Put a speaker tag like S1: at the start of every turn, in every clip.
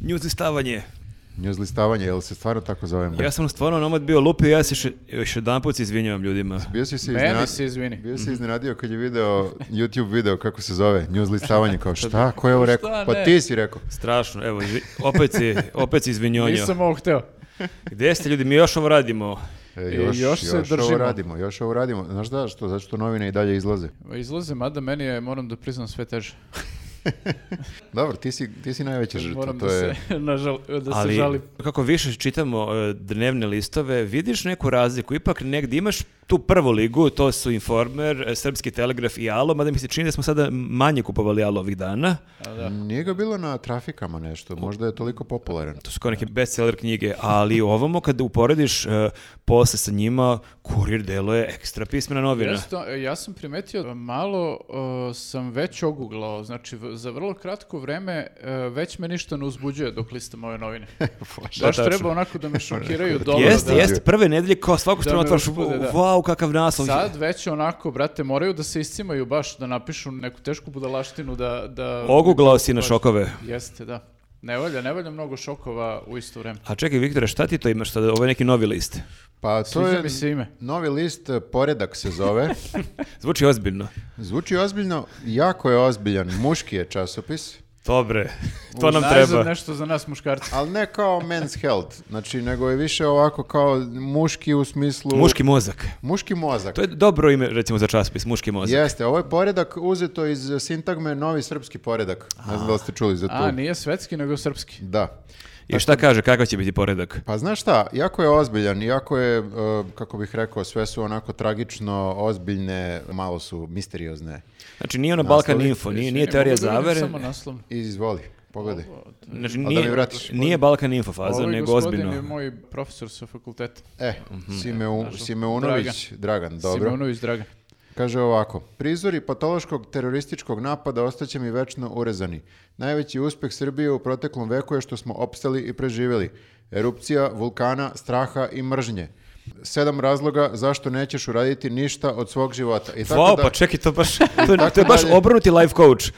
S1: News listavanje.
S2: News listavanje, jel se stvarno tako zovemo?
S1: Ja sam stvarno nomad bio lupio, ja se še- još jedan put izvinjavam ljudima.
S2: Bio si se
S3: Meni
S2: iznenadio,
S3: se izvini. Mhm.
S2: Bio si iznenadio kad je video YouTube video kako se zove, news listavanje, kao šta, ko je ovo rekao?
S3: Pa Šta
S2: Pa
S3: ne?
S2: ti si rekao.
S1: Strašno, evo, izvi- opet si, opet si izvinjonio.
S3: Nisam ovo hteo.
S1: Gdje ste ljudi, mi još ovo radimo.
S2: E,
S3: E,
S2: još,
S3: još se
S2: još ovo
S3: držimo.
S2: radimo, još ovo radimo. Znaš da, što, zato što novine i dalje izlaze.
S3: Izlaze, mada meni je, moram da priznam, sve teže.
S2: Dobro, ti si, ti si najveća žrtva,
S3: Moram
S2: to
S3: da,
S2: je...
S3: se, nažal, da
S1: Ali
S3: se žalim.
S1: kako više čitamo e, dnevne listove, vidiš neku razliku. Ipak negdje imaš tu prvu ligu, to su Informer, e, Srpski telegraf i Alo, mada mi se čini da smo sada manje kupovali Alo ovih dana.
S2: Nije ga bilo na trafikama nešto, možda je toliko popularan.
S1: To su kao neke bestseller knjige, ali ovamo kada uporediš e, posle sa njima, kurir deluje ekstra pismena novina.
S3: Jasno, e, ja sam primetio, malo e, sam već oguglao, znači v- za vrlo kratko vreme e, već me ništa ne uzbuđuje dok listam ove novine. Baš
S1: tačno.
S3: treba onako da me šokiraju dobro.
S1: jeste,
S3: da-
S1: jeste, prve nedelje kao svaku
S3: Da
S1: stranu
S3: me
S1: otvaraš,
S3: uzbude, da.
S1: wow, kakav naslov.
S3: Sad već onako, brate, moraju da se iscimaju baš, da napišu neku tešku budalaštinu, da... da
S1: Oguglao si na šokove.
S3: Jeste, da. Ne valja, ne valja mnogo šokova u isto vreme.
S1: A čekaj, Viktore, šta ti to imaš sada? Ovo je neki novi list.
S2: Pa to
S3: Sviđa
S2: je
S3: mi se ime.
S2: novi list, eh, poredak se zove.
S1: Zvuči ozbiljno.
S2: Zvuči ozbiljno, jako je ozbiljan, muški je časopis.
S1: Dobre, to nam
S3: Najzad
S1: treba.
S3: nešto za nas muškarce.
S2: Ali ne kao men's health, znači nego je više ovako kao muški u smislu...
S1: Muški mozak.
S2: Muški mozak.
S1: To je dobro ime, recimo, za časopis, muški mozak.
S2: Jeste, ovo je poredak uzeto iz sintagme novi srpski poredak. Ne znam da li ste čuli za to.
S3: A, nije svetski, nego srpski.
S2: Da.
S1: I šta kaže, kakav će biti poredak?
S2: Pa znaš šta, jako je ozbiljan, jako je, e, kako bih rekao, sve su onako tragično, ozbiljne, malo su misteriozne.
S1: Znači, nije ono Balkan Info, nije, nije teorija
S3: Mogu da vidim
S1: zavere,
S3: Samo naslov.
S2: Izvoli, pogledaj.
S1: znači,
S2: da
S1: nije,
S2: mi vratiš.
S1: nije Balkan Info faza,
S3: Ovaj
S1: nego
S3: gospodin je
S1: Pa ozbiljno.
S3: moj profesor sa fakulteta.
S2: E,
S1: Mhm.
S2: Simeu, Simeunović, Dragan, dobro.
S3: Simeunović Dragan.
S2: Kaže ovako, prizori patološkog terorističkog napada ostaće mi večno urezani. Najveći uspeh Srbije u proteklom veku je što smo opstali i preživjeli. Erupcija, vulkana, straha i mržnje. Sedam razloga zašto nećeš uraditi ništa od svog života. I tako
S1: Wow,
S2: da,
S1: pa čekaj, to, baš, to, je-
S2: tako
S1: to je baš
S2: dalje.
S1: obrnuti life coach.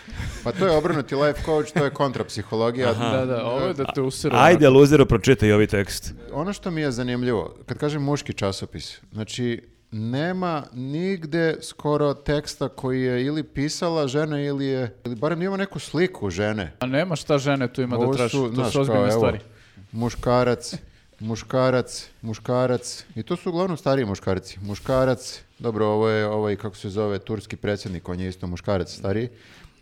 S2: pa to je obrnuti life coach, to je kontrapsihologija.
S3: Da, da, ovo je da te usere.
S1: Ajde, luzeru, pročitaj ovi tekst.
S2: Ono što mi je zanimljivo, kad kažem muški časopis, znači nema nigde skoro teksta koji je ili pisala žena ili je, ili barem ima neku sliku žene.
S3: A nema šta žene tu ima
S2: Ovo
S3: da traži. To
S2: znaš,
S3: su
S2: kao,
S3: ozbiljne
S2: evo,
S3: stvari.
S2: Muškarac, muškarac, muškarac. I to su uglavnom stariji muškarci. Muškarac, dobro, ovo je ovaj, kako se zove, turski predsjednik, on je isto muškarac stariji.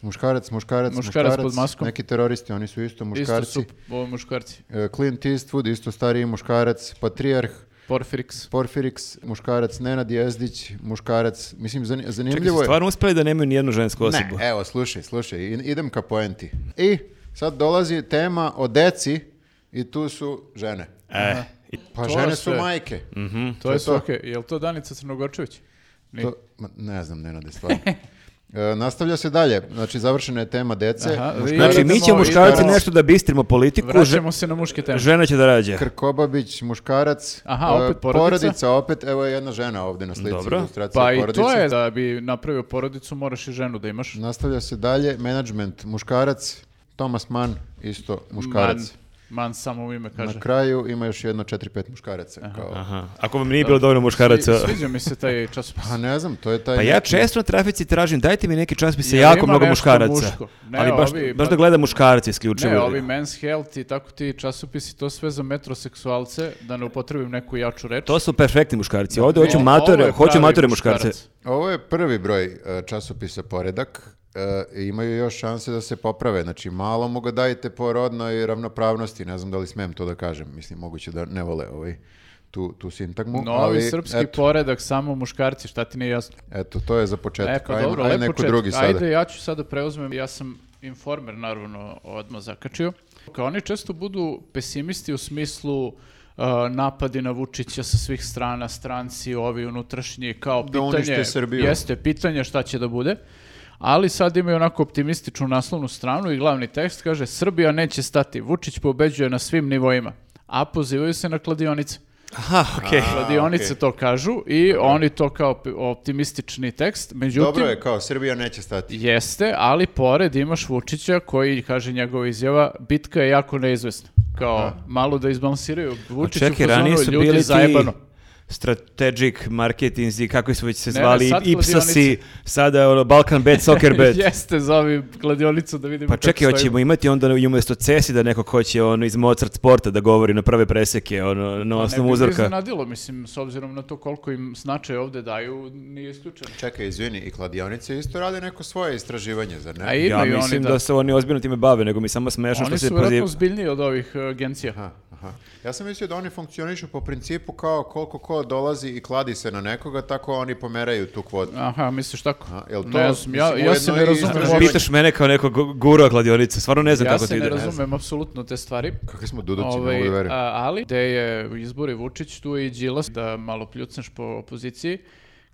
S2: Muškarac, muškarac, muškarac,
S3: Muškarac pod maskom.
S2: neki teroristi, oni su isto muškarci.
S3: Isto su ovo muškarci.
S2: E, Clint Eastwood, isto stariji muškarac, patrijarh, Hm,
S3: Porfiriks.
S2: Porfiriks, muškarac, Nenad Jezdić, muškarac, mislim, zani-
S1: Čekaj, su
S2: zanimljivo je...
S1: stvarno uspeli da nemaju nijednu žensku osobu.
S2: Ne, e, evo, slušaj, slušaj, i- idem ka poenti. I sad dolazi tema o deci i tu su žene.
S1: E, i-
S2: Pa
S3: To
S2: žene
S3: je
S2: su
S3: sve. Mhm.
S2: majke.
S3: To je sve okej. Jel to Danica Crnogorčević? Nije.
S2: To, ma, ne znam, Nenade, stvarno. E, nastavlja se dalje, znači završena je tema dece,
S3: Aha,
S2: muškarac,
S3: Idemo,
S1: Znači, mi ćemo muškarci
S3: idemo.
S1: nešto da bistrimo politiku, že-
S3: Vraćamo se na muške teme.
S1: žena će da rađe.
S2: Krkobabić, muškarac,
S3: Aha,
S2: e,
S3: opet porodica.
S2: opet, evo je jedna žena ovdje na slici,
S1: Dobro.
S2: ilustracija
S3: Pa i
S2: porodice.
S3: to je da bi napravio porodicu, moraš i ženu da imaš.
S2: Nastavlja se dalje, menadžment, muškarac, Thomas Mann, isto muškarac.
S3: Man, man samo u ime kaže.
S2: Na kraju ima još jedno 4-5 muškaraca. kao-
S1: Aha. Ako vam nije bilo dovoljno muškaraca...
S3: Svi- Sviđa mi se taj časopis.
S2: Pa ne znam, to je taj...
S1: Pa ja
S2: neki-
S1: često na trafici tražim, dajte mi neki časopis sa
S3: Jel
S1: jako
S3: ima
S1: mnogo
S3: nešto
S1: muškaraca.
S3: muško? Ne,
S1: ali baš,
S3: ovi-
S1: baš
S3: pa-
S1: da gledam muškarci isključivo.
S3: Ne, ovi men's health i tako ti časopisi, to sve za metroseksualce, da ne upotrebim neku jaču reč.
S1: To su perfektni muškarci. Ovdje hoću
S3: Ovo- ovo
S1: matore,
S3: je
S1: hoću
S3: pravi
S1: matore muškarce.
S3: muškarac.
S2: Ovo je prvi broj e, časopisa Poredak. e, i imaju još šanse da se poprave. Znači, malo mu ga dajte po rodnoj ravnopravnosti. Ne znam da li smem to da kažem. Mislim, moguće da ne vole ovaj, tu, tu sintagmu.
S3: Novi
S2: ali,
S3: srpski
S2: eto,
S3: poredak, samo muškarci, šta ti nije jasno?
S2: eto, to je za
S3: E,
S2: početak.
S3: pa
S2: Ajmo-
S3: dobro,
S2: ajmo
S3: lepo
S2: neko
S3: četiri.
S2: drugi sada.
S3: Ajde, ja ću sada preuzmem, ja sam informer, naravno, odmah zakačio. Kao oni često budu pesimisti u smislu uh, napadi na Vučića sa svih strana, stranci, ovi unutrašnji, kao
S2: Da
S3: pitanje,
S2: unište Srbiju.
S3: jeste pitanje šta će da bude. Ali sad imaju onako optimističnu naslovnu stranu i glavni tekst kaže Srbija neće stati, Vučić pobeđuje na svim nivoima, a pozivaju se na kladionice.
S1: Aha, okej.
S3: Kladionice
S2: okej.
S3: to kažu i oni to kao p- optimistični tekst. Međutim,
S2: Dobro je, kao Srbija neće stati.
S3: Jeste, ali pored imaš Vučića koji, kaže njegova izjava, bitka je jako neizvesna. Kao, malo da izbalansiraju
S1: A
S3: Vučić u
S1: Pa Čekaj,
S3: fazonu,
S1: ranije su
S3: ljudi
S1: bili ti
S3: zajebano.
S1: strategic marketingzi, kako su već se
S3: Ne, ne,
S1: zvali,
S3: sad
S1: Ipsasi,
S3: kladionice.
S1: sada je ono Balkan Bet, Soccer Bet.
S3: Jeste, zovi kladionicu da vidimo
S1: Pa
S3: kako
S1: čekaj,
S3: stojimo.
S1: hoćemo imati onda i umjesto Cesi da neko hoće ono iz Mozart sporta da govori na prve preseke, ono, na
S3: Pa Ne bi
S1: osnovu
S3: me
S1: uzorka.
S3: iznenadilo, mislim, s obzirom na to koliko im značaj ovdje daju, nije isključeno.
S2: Čekaj, izvini, i kladionice isto rade neko svoje istraživanje, zar
S3: A
S2: ne?
S1: Ja
S3: imaju oni
S1: mislim
S3: da...
S1: da se oni ozbiljno time bave, nego mi je samo smešno što
S3: Oni
S1: se
S3: su vjerojatno
S1: proziv-
S3: ozbiljniji od ovih e, agencija.
S2: Aha, aha. Ja sam mislio da oni funkcionišu po principu kao koliko ko dolazi i kladi se na nekoga, tako oni pomeraju tu kvotu.
S3: Aha, misliš tako?
S2: A, jel to,
S3: ne znam, ja,
S2: mislim,
S3: ja se
S2: ujedno
S3: ne
S2: i
S3: razumem
S2: istraživanje.
S3: uopšte.
S1: Pitaš mene kao neko gu- guru kladionice, stvarno ne znam
S3: Ja
S1: kako to
S3: se
S1: ide.
S3: ne razumem apsolutno te stvari.
S2: Kakvi smo dudovci,
S3: Ovaj,
S2: ne mogu da verujem.
S3: a, ali, gde je izbori Vučić, tu je i Đilas, da malo pljucneš po opoziciji.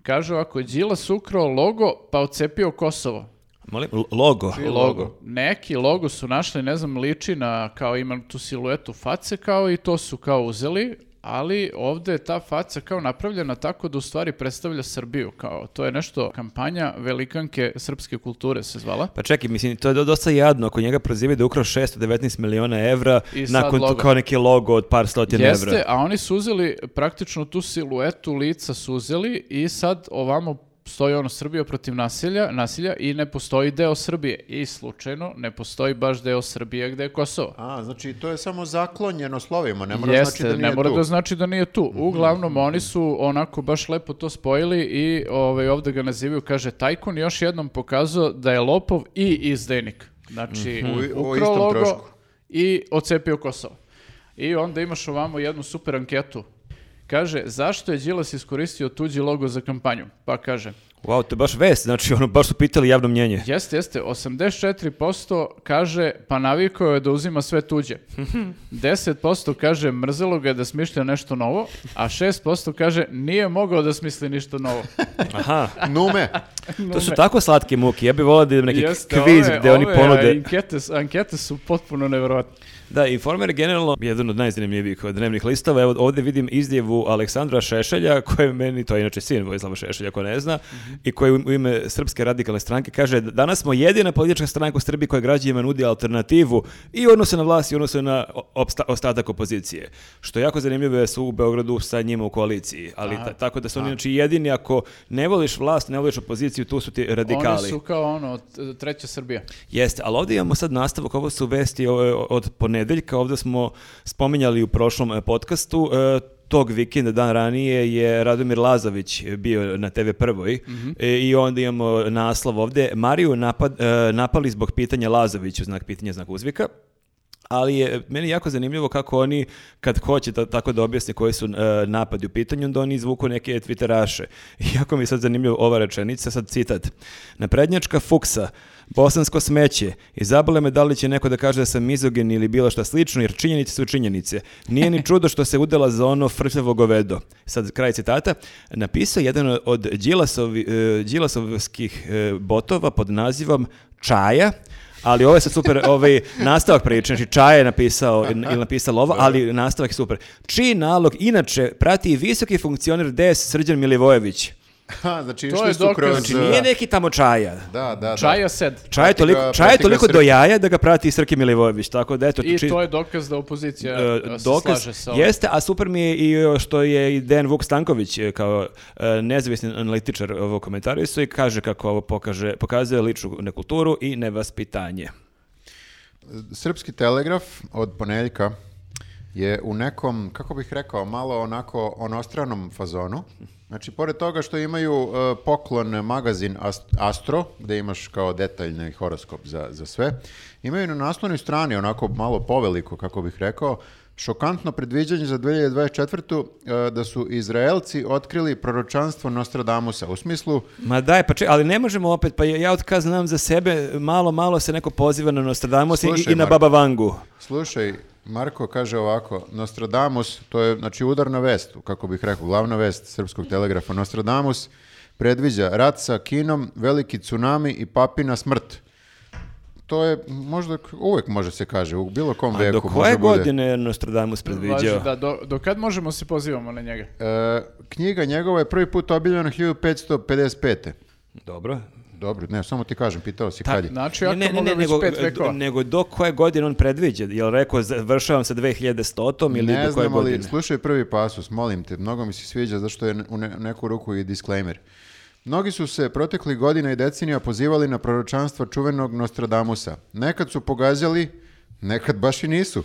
S3: Kažu, ako je Đilas ukrao logo, pa ocepio Kosovo.
S1: Molim, L- logo.
S2: logo?
S3: Neki logo su našli, ne znam, liči na, kao imam tu siluetu face, kao i to su kao uzeli, ali ovdje je ta faca kao napravljena tako da u stvari predstavlja Srbiju, kao to je nešto, kampanja velikanke srpske kulture se zvala.
S1: Pa čekaj, mislim, to je do- dosta jadno ako njega prozivaju da je ukrao 619 miliona evra
S3: I sad
S1: nakon to
S3: logo.
S1: kao neki logo od par stotina
S3: Jeste,
S1: evra.
S3: a oni su uzeli praktično tu siluetu lica su uzeli i sad ovamo stoji ono Srbija protiv nasilja, nasilja i ne postoji deo Srbije. I slučajno ne postoji baš deo Srbije gde je Kosovo.
S2: A, znači to je samo zaklonjeno slovima, ne mora
S3: Jeste,
S2: znači da nije
S3: ne mora
S2: tu. Mhm.
S3: da znači da nije tu. Uglavnom, oni su onako baš lepo to spojili i ovaj, ovdje ga nazivaju, kaže, Tajkun još jednom pokazao da je lopov i izdajnik. Znači,
S2: U- o
S3: ukrao
S2: istom
S3: logo
S2: trošku.
S3: i ocepio Kosovo. I onda imaš ovamo jednu super anketu. Kaže, zašto je Đilas iskoristio tuđi logo za kampanju? Pa kaže,
S1: Wow, to je baš vest, znači ono, baš su pitali javno mnjenje.
S3: Jeste, jeste. 84% kaže pa navikao je da uzima sve tuđe. 10% kaže mrzelo ga je da smišlja nešto novo, a 6% kaže nije mogao da smisli ništa novo.
S1: Aha,
S2: Nume,
S1: to su tako slatke muke, ja bih volao da idem neki kviz
S3: ove-
S1: gde oni
S3: ove, a,
S1: ponude.
S3: Ankete, s- ankete su potpuno nevjerojatne.
S1: Da, Informer je generalno jedan od najzanimljivijih dnevnih listava. Evo ovdje vidim izjavu Aleksandra Šešelja, koji je meni, to je inače sin Vojislava Šešelja, ko ne zna,
S3: Mhm.
S1: i koji u ime Srpske radikalne stranke kaže danas smo jedina politička stranka u Srbiji koja građanima nudi alternativu i u odnosu na vlast i u odnosu na o- opsta- ostatak opozicije. Što je jako zanimljivo je da su u Beogradu sa njima u koaliciji, ali ta- tako da su oni znači, jedini ako ne voliš vlast, ne voliš opoziciju, tu su ti radikali.
S3: Oni su kao ono, t- treća Srbija.
S1: Jeste, ali ovdje imamo sad nastavak, ovo su vesti o- od ponedeljka, ovdje smo spominjali u prošlom e, podcastu, e, tog vikenda, dan ranije, je Radomir Lazović bio na TV Prvoj e, i onda imamo naslov ovdje, Mariju napad, e, napali zbog pitanja Lazoviću, znak pitanja, znak uzvika. Ali je meni jako zanimljivo kako oni, kad hoće da, tako da objasne koji su e, napadi u pitanju, onda oni izvuku neke twitteraše. I jako mi je sad zanimljivo ova rečenica, sad citat. Naprednjačka fuksa, bosansko smeće, i zabole me da li će neko da kaže da sam mizogen ili bilo šta slično, jer činjenice su činjenice. Nije ni čudo što se udela za ono frtljavo govedo. Sad kraj citata. Napisao je jedan od Đilasovi, e, Đilasovskih e, botova pod nazivom Čaja, ali ovo je sad super, ovaj nastavak priče, znači Čaja je napisao ili napisala ovo, ali nastavak je super. Čiji nalog inače prati i visoki funkcioner DS Srđan Milivojević.
S2: ha, znači
S3: To je
S2: išli su
S3: dokaz.
S2: kroz... e,
S1: Znači nije neki tamo Čaja.
S2: Da, da, da.
S3: Čaja sed.
S1: Čaja je
S2: Prati
S1: toliko,
S2: ga-
S1: čaja je
S2: prati ga
S1: toliko do
S2: Srki.
S1: jaja da ga prati i Srki Milivojević, tako da eto,
S3: I
S1: či-
S3: to je dokaz da opozicija
S1: e,
S3: e, se
S1: dokaz
S3: slaže sa ovim.
S1: jeste, a super mi je i e, što je i Dejan Vuk Stanković e, kao e, nezavisni analitičar e, ovo komentarisao i kaže kako ovo pokaže, pokazuje ličnu nekulturu i nevaspitanje.
S2: Srpski telegraf od ponedjeljka je u nekom, kako bih rekao, malo onako onostranom fazonu. Znači, pored toga što imaju e, poklon magazin Ast- Astro, gde imaš kao detaljni horoskop za, za sve, imaju na naslovnoj strani, onako malo poveliko, kako bih rekao, šokantno predviđanje za 2024. e, da su Izraelci otkrili proročanstvo Nostradamusa. U smislu,
S1: Ma daj, pa čekaj, ali ne možemo opet, pa ja od kad znam za sebe, malo, malo se neko poziva na Nostradamus i,
S2: Slušaj,
S1: i na
S2: Marko.
S1: Baba Vangu.
S2: Slušaj, Marko kaže ovako, Nostradamus, to je znači udarna vest, kako bih rekao, glavna vest srpskog telegrafa, Nostradamus predviđa rat sa Kinom, veliki tsunami i papina smrt. to je možda k- uvek može se kaže u bilo kom
S1: A
S2: veku.
S1: do koje
S2: može bude.
S1: godine je Nostradamus predviđao?
S3: Važi da, do, do kad možemo se pozivamo na njega?
S2: E, knjiga njegova je prvi put obiljena 1555.
S1: Dobro.
S2: Dobro, ne, samo ti kažem, pitao
S1: Pa,
S2: si kad je.
S3: Znači, ako ne, ne, nego, pet vekova.
S1: nego e, do koje godine on predviđa? Jel rekao završavam sa 2100 ili
S2: Ne
S1: do koje
S2: znam, ali
S1: godine?
S2: slušaj prvi pasus, molim te, mnogo mi se sviđa zašto je u ne- neku ruku i disclaimer. Mnogi su se proteklih godina i decenija pozivali na proročanstva čuvenog Nostradamusa. Nekad su pogađali, nekad baš i nisu.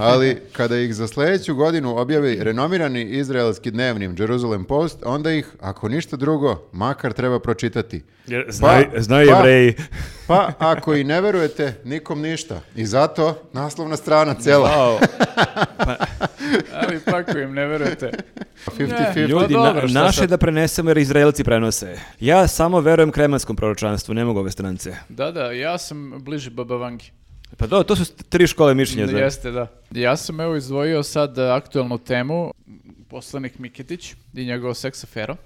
S2: Ali kada ih za sljedeću godinu objavi renomirani izraelski dnevnim Jerusalem Post, onda ih, ako ništa drugo, makar treba pročitati.
S1: Jer znaju, znaju
S2: pa-
S1: jevreji.
S2: Pa ako i ne verujete, nikom ništa. I zato naslovna strana cela.
S1: Wow.
S3: Ali tako im ne verujete.
S2: 50-50.
S1: Ljudi,
S3: Pa
S1: na-
S3: dobro, šta
S1: naše
S3: sad?
S1: da prenesemo jer Izraelci prenose. Ja samo verujem kremanskom proročanstvu, ne mogu ove strance.
S3: Da, da, ja sam bliže Baba Vangi.
S1: Pa do, to su tri škole mišljenja. znaš.
S3: Jeste, da. Ja sam evo izdvojio sad e, aktuelnu temu, poslanik Miketić i njegov seks afero.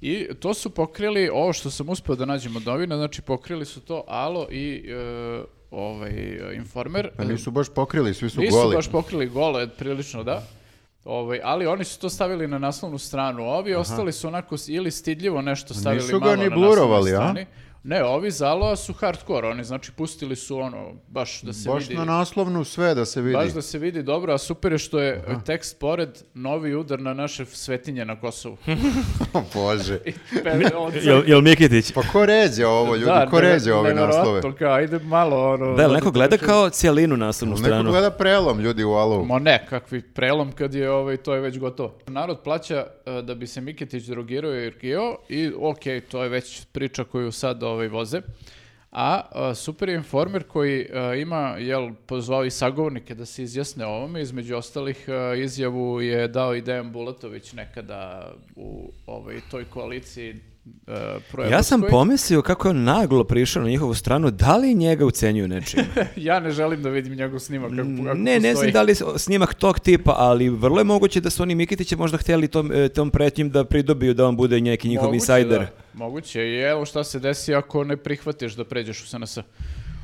S3: I to su pokrili, ovo što sam uspio da nađem od novina, znači pokrili su to Alo i e, ovaj, e, Informer.
S2: Pa nisu baš pokrili, svi su
S3: Nisu
S2: goli.
S3: baš pokrili gole, prilično da. Ovaj, ali oni su to stavili na naslovnu stranu. Ovi ostali su onako s- ili stidljivo nešto stavili
S2: Nisu ga
S3: malo
S2: ni
S3: na naslovnoj
S2: blurovali, a?
S3: strani. Ne, ovi zaloa su hardcore, oni znači pustili su ono, baš da se
S2: Baš
S3: vidi.
S2: na naslovnu sve da se vidi.
S3: Baš da se vidi dobro, a super je što je tekst pored novi udar na naše svetinje na Kosovu.
S2: O Bože.
S3: I pe- on-
S1: Jel, jel Mikitić?
S2: Pa ko ređe ovo, ljudi?
S3: Da,
S2: ko
S3: neve-
S2: ređe ove
S3: neverovatno,
S2: naslove?
S3: kao, ajde malo ono...
S1: Da, jel neko gleda kao cijelinu naslovnu
S2: Neko
S1: stranu?
S2: gleda prelom, ljudi, u Alovu.
S3: Ma ne, kakvi prelom kad je ovaj, to je već gotovo. Narod plaća e, da bi se Miketić drogirao i ergio i ok, to je već priča koju sad ovaj, voze. A e, super je informer koji e, ima, jel, pozvao i sagovornike da se izjasne o ovome, između ostalih e, izjavu je dao i Dejan Bulatović nekada u ovaj, toj koaliciji e,
S1: Ja sam
S3: proevropskoj.
S1: pomislio kako je on naglo prišao na njihovu stranu, da li njega ucenjuju nečim?
S3: ja ne želim da vidim njegov snimak kako, kako
S1: Ne, ne znam
S3: postoji.
S1: da li je snimak tog tipa, ali vrlo je moguće da su oni Mikitiće možda htjeli tom, e, tom pretnjim da pridobiju da on bude neki njihov
S3: Moguće,
S1: insajder.
S3: da. Moguće i evo šta se desi ako ne prihvatiš da pređeš u SNS.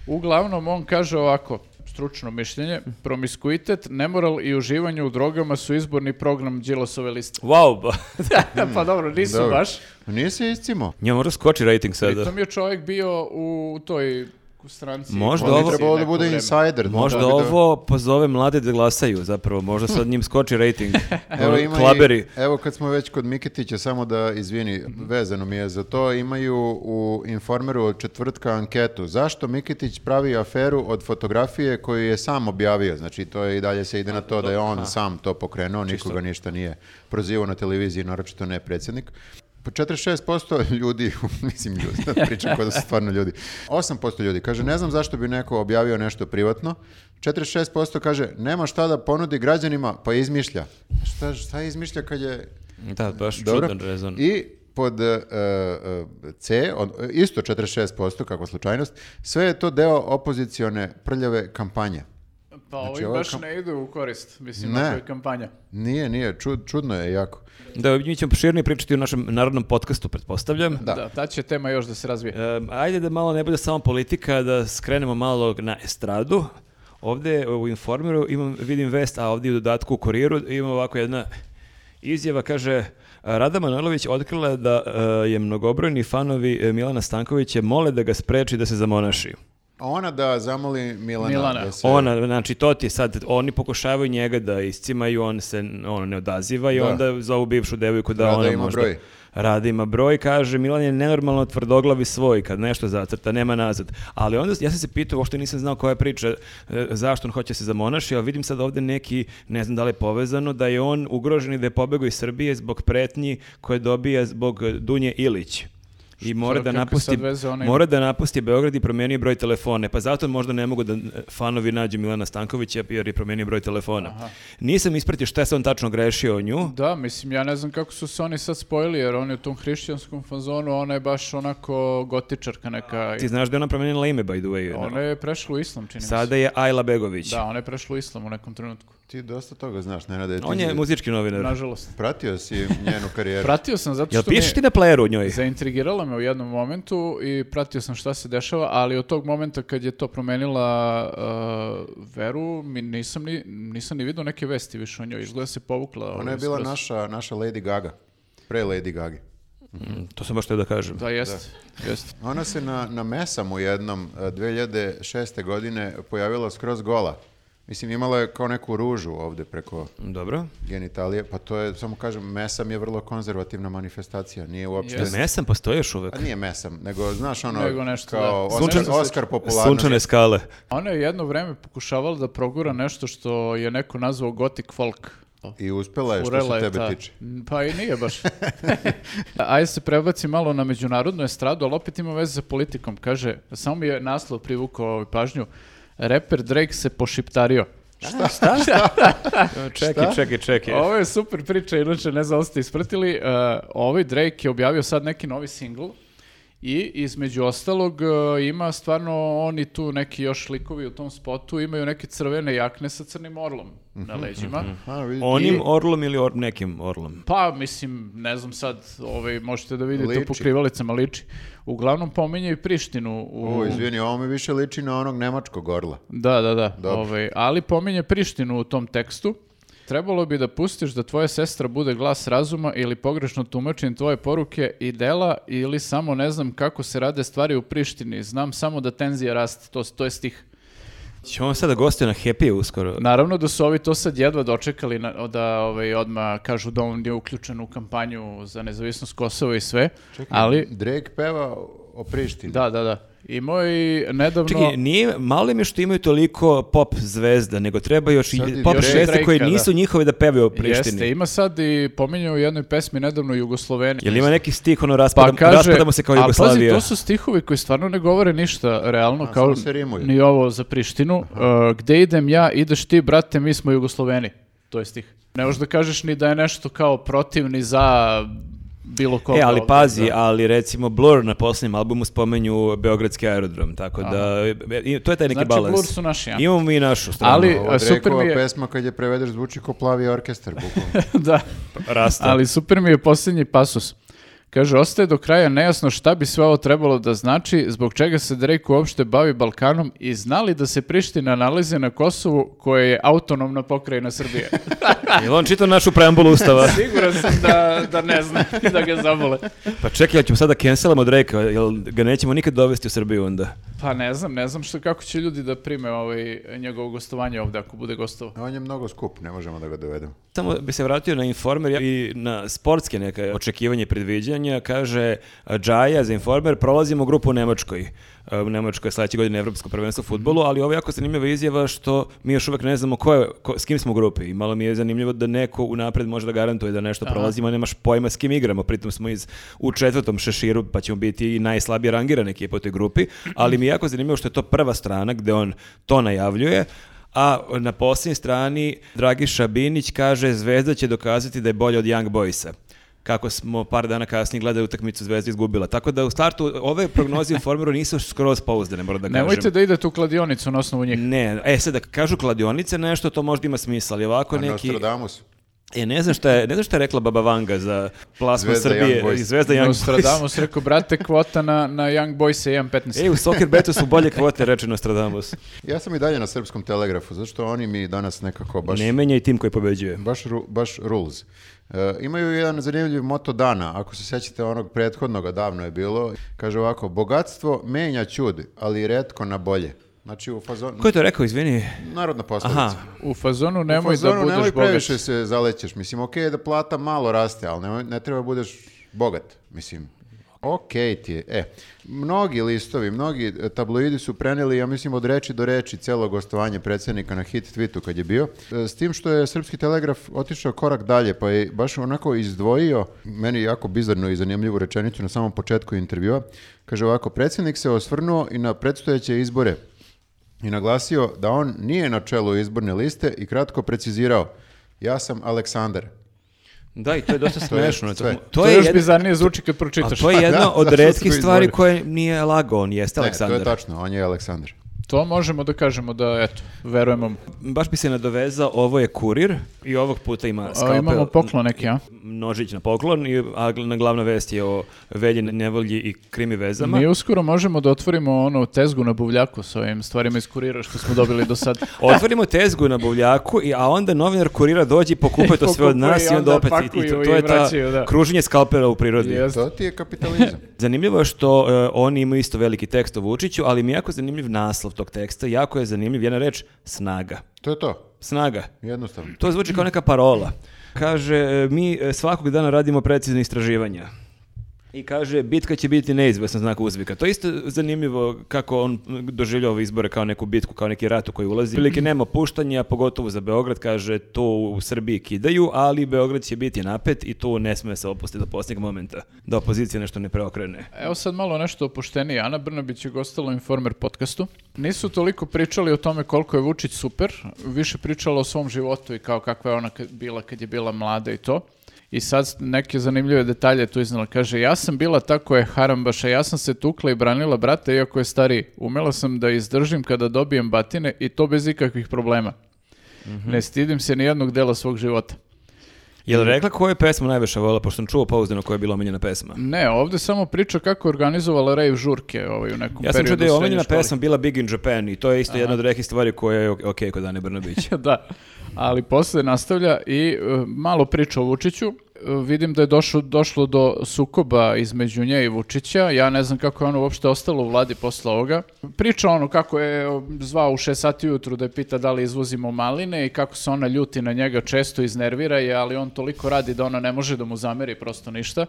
S3: Uglavnom, on kaže ovako, stručno mišljenje, promiskuitet, nemoral i uživanje u drogama su izborni program Đilasove liste.
S1: Wow, ba.
S3: pa dobro, nisu
S2: Dobro.
S3: baš.
S2: Nisi iscimo.
S1: Njemu možda skoči rating sada.
S3: Pritom je čovjek bio u toj stranci.
S1: Možda
S2: On
S1: ovo-
S2: bi trebalo da
S3: neko
S2: bude
S3: vreme.
S2: insider.
S1: Možda
S2: da bi da-
S1: ovo pozove mlade da glasaju zapravo, možda sad njim skoči rating.
S2: Evo, ima i-
S1: Ono, Klaberi.
S2: evo kad smo već kod Miketića, samo da izvini, vezano mi je za to, imaju u Informeru od četvrtka anketu. Zašto Miketić pravi aferu od fotografije koju je sam objavio? Znači to je i dalje se ide na to da je on sam to pokrenuo, nikoga ništa nije prozivao na televiziji, naročito ne predsjednik. Po 46% ljudi, mislim ljudi, sad pričam kao da su stvarno ljudi. 8% ljudi kaže ne znam zašto bi neko objavio nešto privatno. 46% kaže nema šta da ponudi građanima, pa izmišlja. Šta, šta izmišlja kad je...
S1: Da, baš
S2: Dobro.
S1: čudan rezon.
S2: I pod e, e, C, od, isto 46%, kako slučajnost, sve je to deo opozicione prljave kampanje.
S3: Pa ovi
S2: Znači, ovo je
S3: baš
S2: kam-
S3: ne idu u korist, mislim,
S2: Ne.
S3: na je kampanja.
S2: Nije, nije, čud- čudno je jako.
S1: Da, mi ćemo širnije pričati u našem narodnom podcastu, pretpostavljam.
S2: Da.
S3: Da. ta će tema još da se razvije.
S1: Em, ajde da malo ne bude samo politika, da skrenemo malo na estradu. Ovdje u Informeru imam, vidim vest, a ovdje u dodatku u Kuriru ima ovako jedna izjava, kaže Rada Manojlović otkrila je da e, je mnogobrojni fanovi e, Milana Stankovića mole da ga spreči da se zamonaši.
S2: A Ona da zamoli Milana.
S3: Milana.
S2: Da se,
S1: Ona, znači to ti je sad, oni pokušavaju njega da iscimaju, on se ono, ne odaziva i
S2: Da.
S1: onda zovu bivšu devojku da
S2: Rada
S1: ona
S2: ima
S1: možda...
S2: broj.
S1: Rada ima broj, kaže Milan je nenormalno tvrdoglavi svoj, kad nešto zacrta, nema nazad. Ali onda, ja sam se pitao, uopšte nisam znao koja je priča, e, zašto on hoće se zamonaši, ali vidim sad ovdje neki, ne znam da li je povezano, da je on ugrožen i da je pobegao iz Srbije zbog pretnji koje dobija zbog Dunje Ilić. I mora da,
S3: kakve
S1: napusti,
S3: sad veze ona ima?
S1: mora da napusti Beograd i promijenio broj telefone. Pa zato možda ne mogu da e, fanovi nađu Milana Stankovića jer je promijenio broj telefona. Nisam ispratio šta je sad on tačno grešio o nju.
S3: Da, mislim, ja ne znam kako su se oni sad spojili, jer on je u tom hrišćanskom fazonu, a ona je baš onako gotičarka neka.
S1: Ti znaš da je ona promijenila ime, by the way.
S3: Ona je prešla u islam, čini mi se.
S1: Sada je Ajla Begović.
S3: Da, ona je prešla u islam u nekom trenutku.
S2: Ti dosta toga znaš, Nenade. Ti
S1: On je muzički novinar.
S3: Nažalost.
S2: Pratio si njenu karijeru.
S3: Pratio sam zato
S1: Jel
S3: što me
S1: pišeš ti na playeru njoj?
S3: zaintrigirala me u jednom momentu i pratio sam šta se dešava, ali od tog momenta kad je to promenila uh, veru, mi nisam ni, nisam ni vidio neke vesti više o njoj. Izgleda se povukla.
S2: Ona
S3: ovaj,
S2: je bila
S3: skroz.
S2: naša, naša Lady Gaga. Pre Lady Gage.
S1: Mm, To sam baš teo da kažem.
S3: Da, jeste. jeste.
S2: Ona se na, na mesam u jednom e, 2006. godine pojavila skroz gola. Mislim, imala je kao neku ružu ovde preko
S1: Dobro.
S2: genitalije, pa to je, samo kažem, mesam je vrlo konzervativna manifestacija, nije uopšte...
S3: Jeste.
S1: Mesam postoji još uvek.
S2: A nije mesam, nego, znaš, ono,
S3: Nego nešto,
S2: kao
S3: da.
S2: Oscar,
S1: Sunčan-
S2: Oscar popularnosti.
S1: Sunčane skale.
S3: Ona je jedno vreme pokušavala da progura
S2: Mm.
S3: nešto što je neko nazvao gothic folk.
S2: I uspela je e, što
S3: Furela
S2: se tebe
S3: ta-
S2: tiče.
S3: Pa i nije baš. Ajde se prebaci malo na međunarodnu estradu, ali opet ima veze sa politikom. Kaže, samo mi je naslov privukao ovaj pažnju, reper Drake se pošiptario.
S1: Šta? Šta? čekaj, čekaj, čekaj.
S3: Ovo je super priča, inače ne znam da li ste ispratili. Uh, ovaj Drake je objavio sad neki novi singl i između ostalog uh, ima stvarno oni tu neki još likovi u tom spotu, imaju neke crvene jakne sa crnim orlom na
S2: Mhm,
S3: leđima.
S2: A, vidi,
S1: Onim
S3: I-
S1: orlom ili or- nekim orlom?
S3: Pa, mislim, ne znam sad, ovaj, možete da vidite
S2: Liči.
S3: po krivalicama liči. Uglavnom pominje i Prištinu. U...
S2: O, izvini, ovo mi više liči na onog nemačkog orla.
S3: Da, da, da.
S2: Dobro.
S3: Ovaj, ali pominje Prištinu u tom tekstu. Trebalo bi da pustiš da tvoja sestra bude glas razuma ili pogrešno tumačim tvoje poruke i dela ili samo ne znam kako se rade stvari u Prištini. Znam samo da tenzija raste. To, to je stih.
S1: Će on sada gostio na Happy uskoro.
S3: Naravno da su ovi to sad jedva dočekali na- da ovaj, odmah kažu da on je uključen u kampanju za nezavisnost Kosova i sve. ali
S2: Drake peva o Prištini.
S3: Da, da, da. Imao je i nedavno...
S1: Čekaj, nije, malo mi je što imaju toliko pop zvezda, nego treba još i
S2: Sad i
S1: pop
S2: još i
S1: zvezde koje
S3: Drakea,
S1: nisu njihove da pevaju o Prištini.
S3: Jeste, ima sad i pominjao u jednoj pesmi nedavno Jugosloveniju.
S1: Jel ima neki stih, ono, raspadam, raspadamo se kao
S3: Pa A
S1: Jugoslavija?
S3: pazi, to su stihovi koji stvarno ne govore ništa realno, kao
S2: samo se rimuju.
S3: ni ovo za Prištinu. Uh, gde idem ja, ideš ti, brate, mi smo Jugosloveni. To je stih. Ne možeš da kažeš ni da je nešto kao protiv ni za bilo koga.
S1: E, ali
S3: ovde,
S1: pazi,
S3: da.
S1: ali recimo Blur na posljednjem albumu spomenju Beogradski aerodrom, tako da i- to je taj neki
S3: Znači,
S1: balans.
S3: Blur su naši, ja.
S1: Imamo mi i našu stranu.
S3: Ali-
S2: Ova
S3: a, super
S2: Drakeova
S3: mi je-
S2: pesma kad je prevedeš zvuči kao plavi orkestar, bukvalno.
S3: da.
S1: Pa Rasta.
S3: Ali super mi je posljednji pasus. Kaže, ostaje do kraja nejasno šta bi sve ovo trebalo da znači, zbog čega se Drake uopšte bavi Balkanom i znali da se Priština nalazi na Kosovu koja je autonomna pokrajina Srbije.
S1: Jel on čitao našu preambulu ustava?
S3: Siguran sam da, da ne znam i da ga zabole.
S1: pa čekaj, jel ćemo sada cancelamo Drake, jel ga nećemo nikad dovesti u Srbiju onda?
S3: Pa ne znam, ne znam što, kako će ljudi da prime ovaj, njegovo gostovanje ovdje ako bude gostovo.
S2: On je mnogo skup, ne možemo da ga dovedemo.
S1: Samo bi se vratio na Informer i na sportske neke očekivanje i predviđanja. Kaže Džaja za Informer, prolazimo grupu u Nemačkoj. E, U Nemačkoj je sledeće godine Evropsko prvenstvo u futbolu, ali ovo je jako zanimljiva izjava što mi još uvek ne znamo ko je, ko- s kim smo u grupi. I malo mi je zanimljivo da neko unapred može da garantuje da nešto prolazimo, a nemaš pojma s kim igramo. Pritom smo iz, u četvrtom šeširu, pa ćemo biti i najslabije rangirane ekipa u toj grupi. Ali mi je jako zanimljivo što je to prva strana gde on to najavljuje. A na posljednjoj strani Dragiša Binić kaže Zvezda će dokazati da je bolja od Young Boysa. Kako smo par dana kasnije gledali utakmicu Zvezda izgubila. Tako da u startu ove prognoze u Formeru nisu skroz pouzdane, moram da kažem.
S3: Nemojte da idete u kladionicu na osnovu njih.
S1: Ne, e sad da kažu kladionice nešto, to možda ima smisla, ali ovako
S2: A
S1: Pa neki...
S2: Nostradamus.
S1: E, ne znam šta je, ne znam šta je rekla Baba Vanga za plasma
S2: Zvezda
S1: Srbije
S2: Young Boys.
S1: i Zvezda Young Boys.
S3: Nostradamus rekao, brate, kvota na, na Young Boys je 1.15.
S1: E, u Soccer Betu su bolje kvote, reče Nostradamus.
S2: Ja sam i dalje na srpskom telegrafu, zato što oni mi danas nekako baš...
S1: Ne menjaj tim koji pobeđuje.
S2: Baš, ru- baš rules. E, imaju jedan zanimljiv moto dana, ako se sjećate onog prethodnog, a davno je bilo. Kaže ovako, bogatstvo menja čud, ali retko na bolje. Znači u fazonu...
S1: Ko je to rekao, izvini?
S2: Narodna poslovica.
S1: Aha,
S3: U fazonu nemoj
S2: u fazonu
S3: da budeš
S2: nemoj
S3: bogat.
S2: previše se zalećeš. Mislim, okej je da plata malo raste, ali nemoj- ne treba budeš bogat. Mislim, okej ti je. E, mnogi listovi, mnogi e, tabloidi su preneli, ja mislim, od reči do reči celo gostovanje predsjednika na hit tweetu kad je bio. E, S tim što je Srpski telegraf otišao korak dalje, pa je baš onako izdvojio, meni jako bizarno i zanimljivu rečenicu na samom početku intervjua. Kaže ovako, predsjednik se osvrnuo i na predstojeće izbore i naglasio da on nije na čelu izborne liste i kratko precizirao ja sam Aleksandar.
S1: da i to je dosta smešno.
S2: sve.
S1: to,
S3: To, je još
S1: jed-
S3: bizarnije zvuči kad
S1: A
S3: pročitaš.
S1: to je jedna
S2: Da,
S1: od
S2: zato što
S1: redkih
S2: smo
S1: stvari
S2: izborili.
S1: koje nije lagao, on jeste
S2: Ne, to je
S1: Aleksandar.
S2: tačno, on je Aleksandar.
S3: To možemo da kažemo da, eto, verujemo.
S1: Baš bi se nadovezao, ovo je kurir i ovog puta ima
S3: A,
S1: skalpel.
S3: imamo poklon neki, a?
S1: Nožić na poklon, i, a gl- na glavna vest je o velji nevolji i krimi vezama.
S3: Mi uskoro možemo da otvorimo onu tezgu na buvljaku sa ovim stvarima iz kurira što smo dobili do sad.
S1: Otvorimo tezgu na buvljaku, i, a onda novinar kurira dođe i pokupa to sve od
S3: Pokupa
S1: nas i
S3: i
S1: onda
S3: onda
S1: opet i- i, to,
S3: pakuju
S1: to
S3: i
S1: je ta
S3: vraćaju, da.
S1: kruženje skalpera u prirodi.
S3: Jeste.
S2: To ti je kapitalizam.
S1: Zanimljivo je što e, oni imaju isto veliki tekst o Vučiću, ali mi je jako zanimljiv naslov tog teksta, jako je zanimljiv jedna reč snaga.
S2: to je to.
S1: Snaga.
S2: Jednostavno.
S1: To zvuči kao neka parola. Kaže, e, mi e, svakog dana radimo precizne istraživanja. I kaže, bitka će biti neizvesna znak uzvika. To je isto zanimljivo kako on m, doživljava ove izbore kao neku bitku, kao neki rat u koji ulazi. Prilike nema puštanja, pogotovo za Beograd, kaže, to u Srbiji kidaju, ali Beograd će biti napet i tu ne sme se opustiti do posljednjeg momenta, da opozicija nešto ne preokrene.
S3: Evo sad malo nešto opuštenije. Ana Brnabić je gostala u Informer podcastu. Nisu toliko pričali o tome koliko je Vučić super, više pričala o svom životu i kao kakva je ona kad- bila kad je bila mlada i to. I sad neke zanimljive detalje je tu iznala. Kaže, ja sam bila ta koja je harambaša, ja sam se tukla i branila brata, iako je stariji. Umela sam da izdržim kada dobijem batine i to bez ikakvih problema.
S1: Mhm.
S3: Ne stidim se ni jednog dela svog života.
S1: Je li rekla koju je pesmu najviše vola, pošto sam čuo pouzdano koja je bila omiljena pesma?
S3: Ne, ovdje samo priča kako je organizovala rave žurke ovaj, u nekom
S1: Ja sam
S3: periodu
S1: čuo da je
S3: srednje
S1: omiljena
S3: škole.
S1: pesma bila Big in Japan i to je isto jedna od rekih stvari koja je ok kod Ane Brnabić.
S3: da. Ali posle nastavlja i e, malo priča o Vučiću. E, vidim da je došlo, došlo do sukoba između nje i Vučića. Ja ne znam kako je ono uopšte ostalo u vladi posle ovoga. Priča ono kako je o, zvao u 6 sati ujutru da je pita da li izvozimo maline i kako se ona ljuti na njega često iznervira je, ali on toliko radi da ona ne može da mu zameri prosto ništa.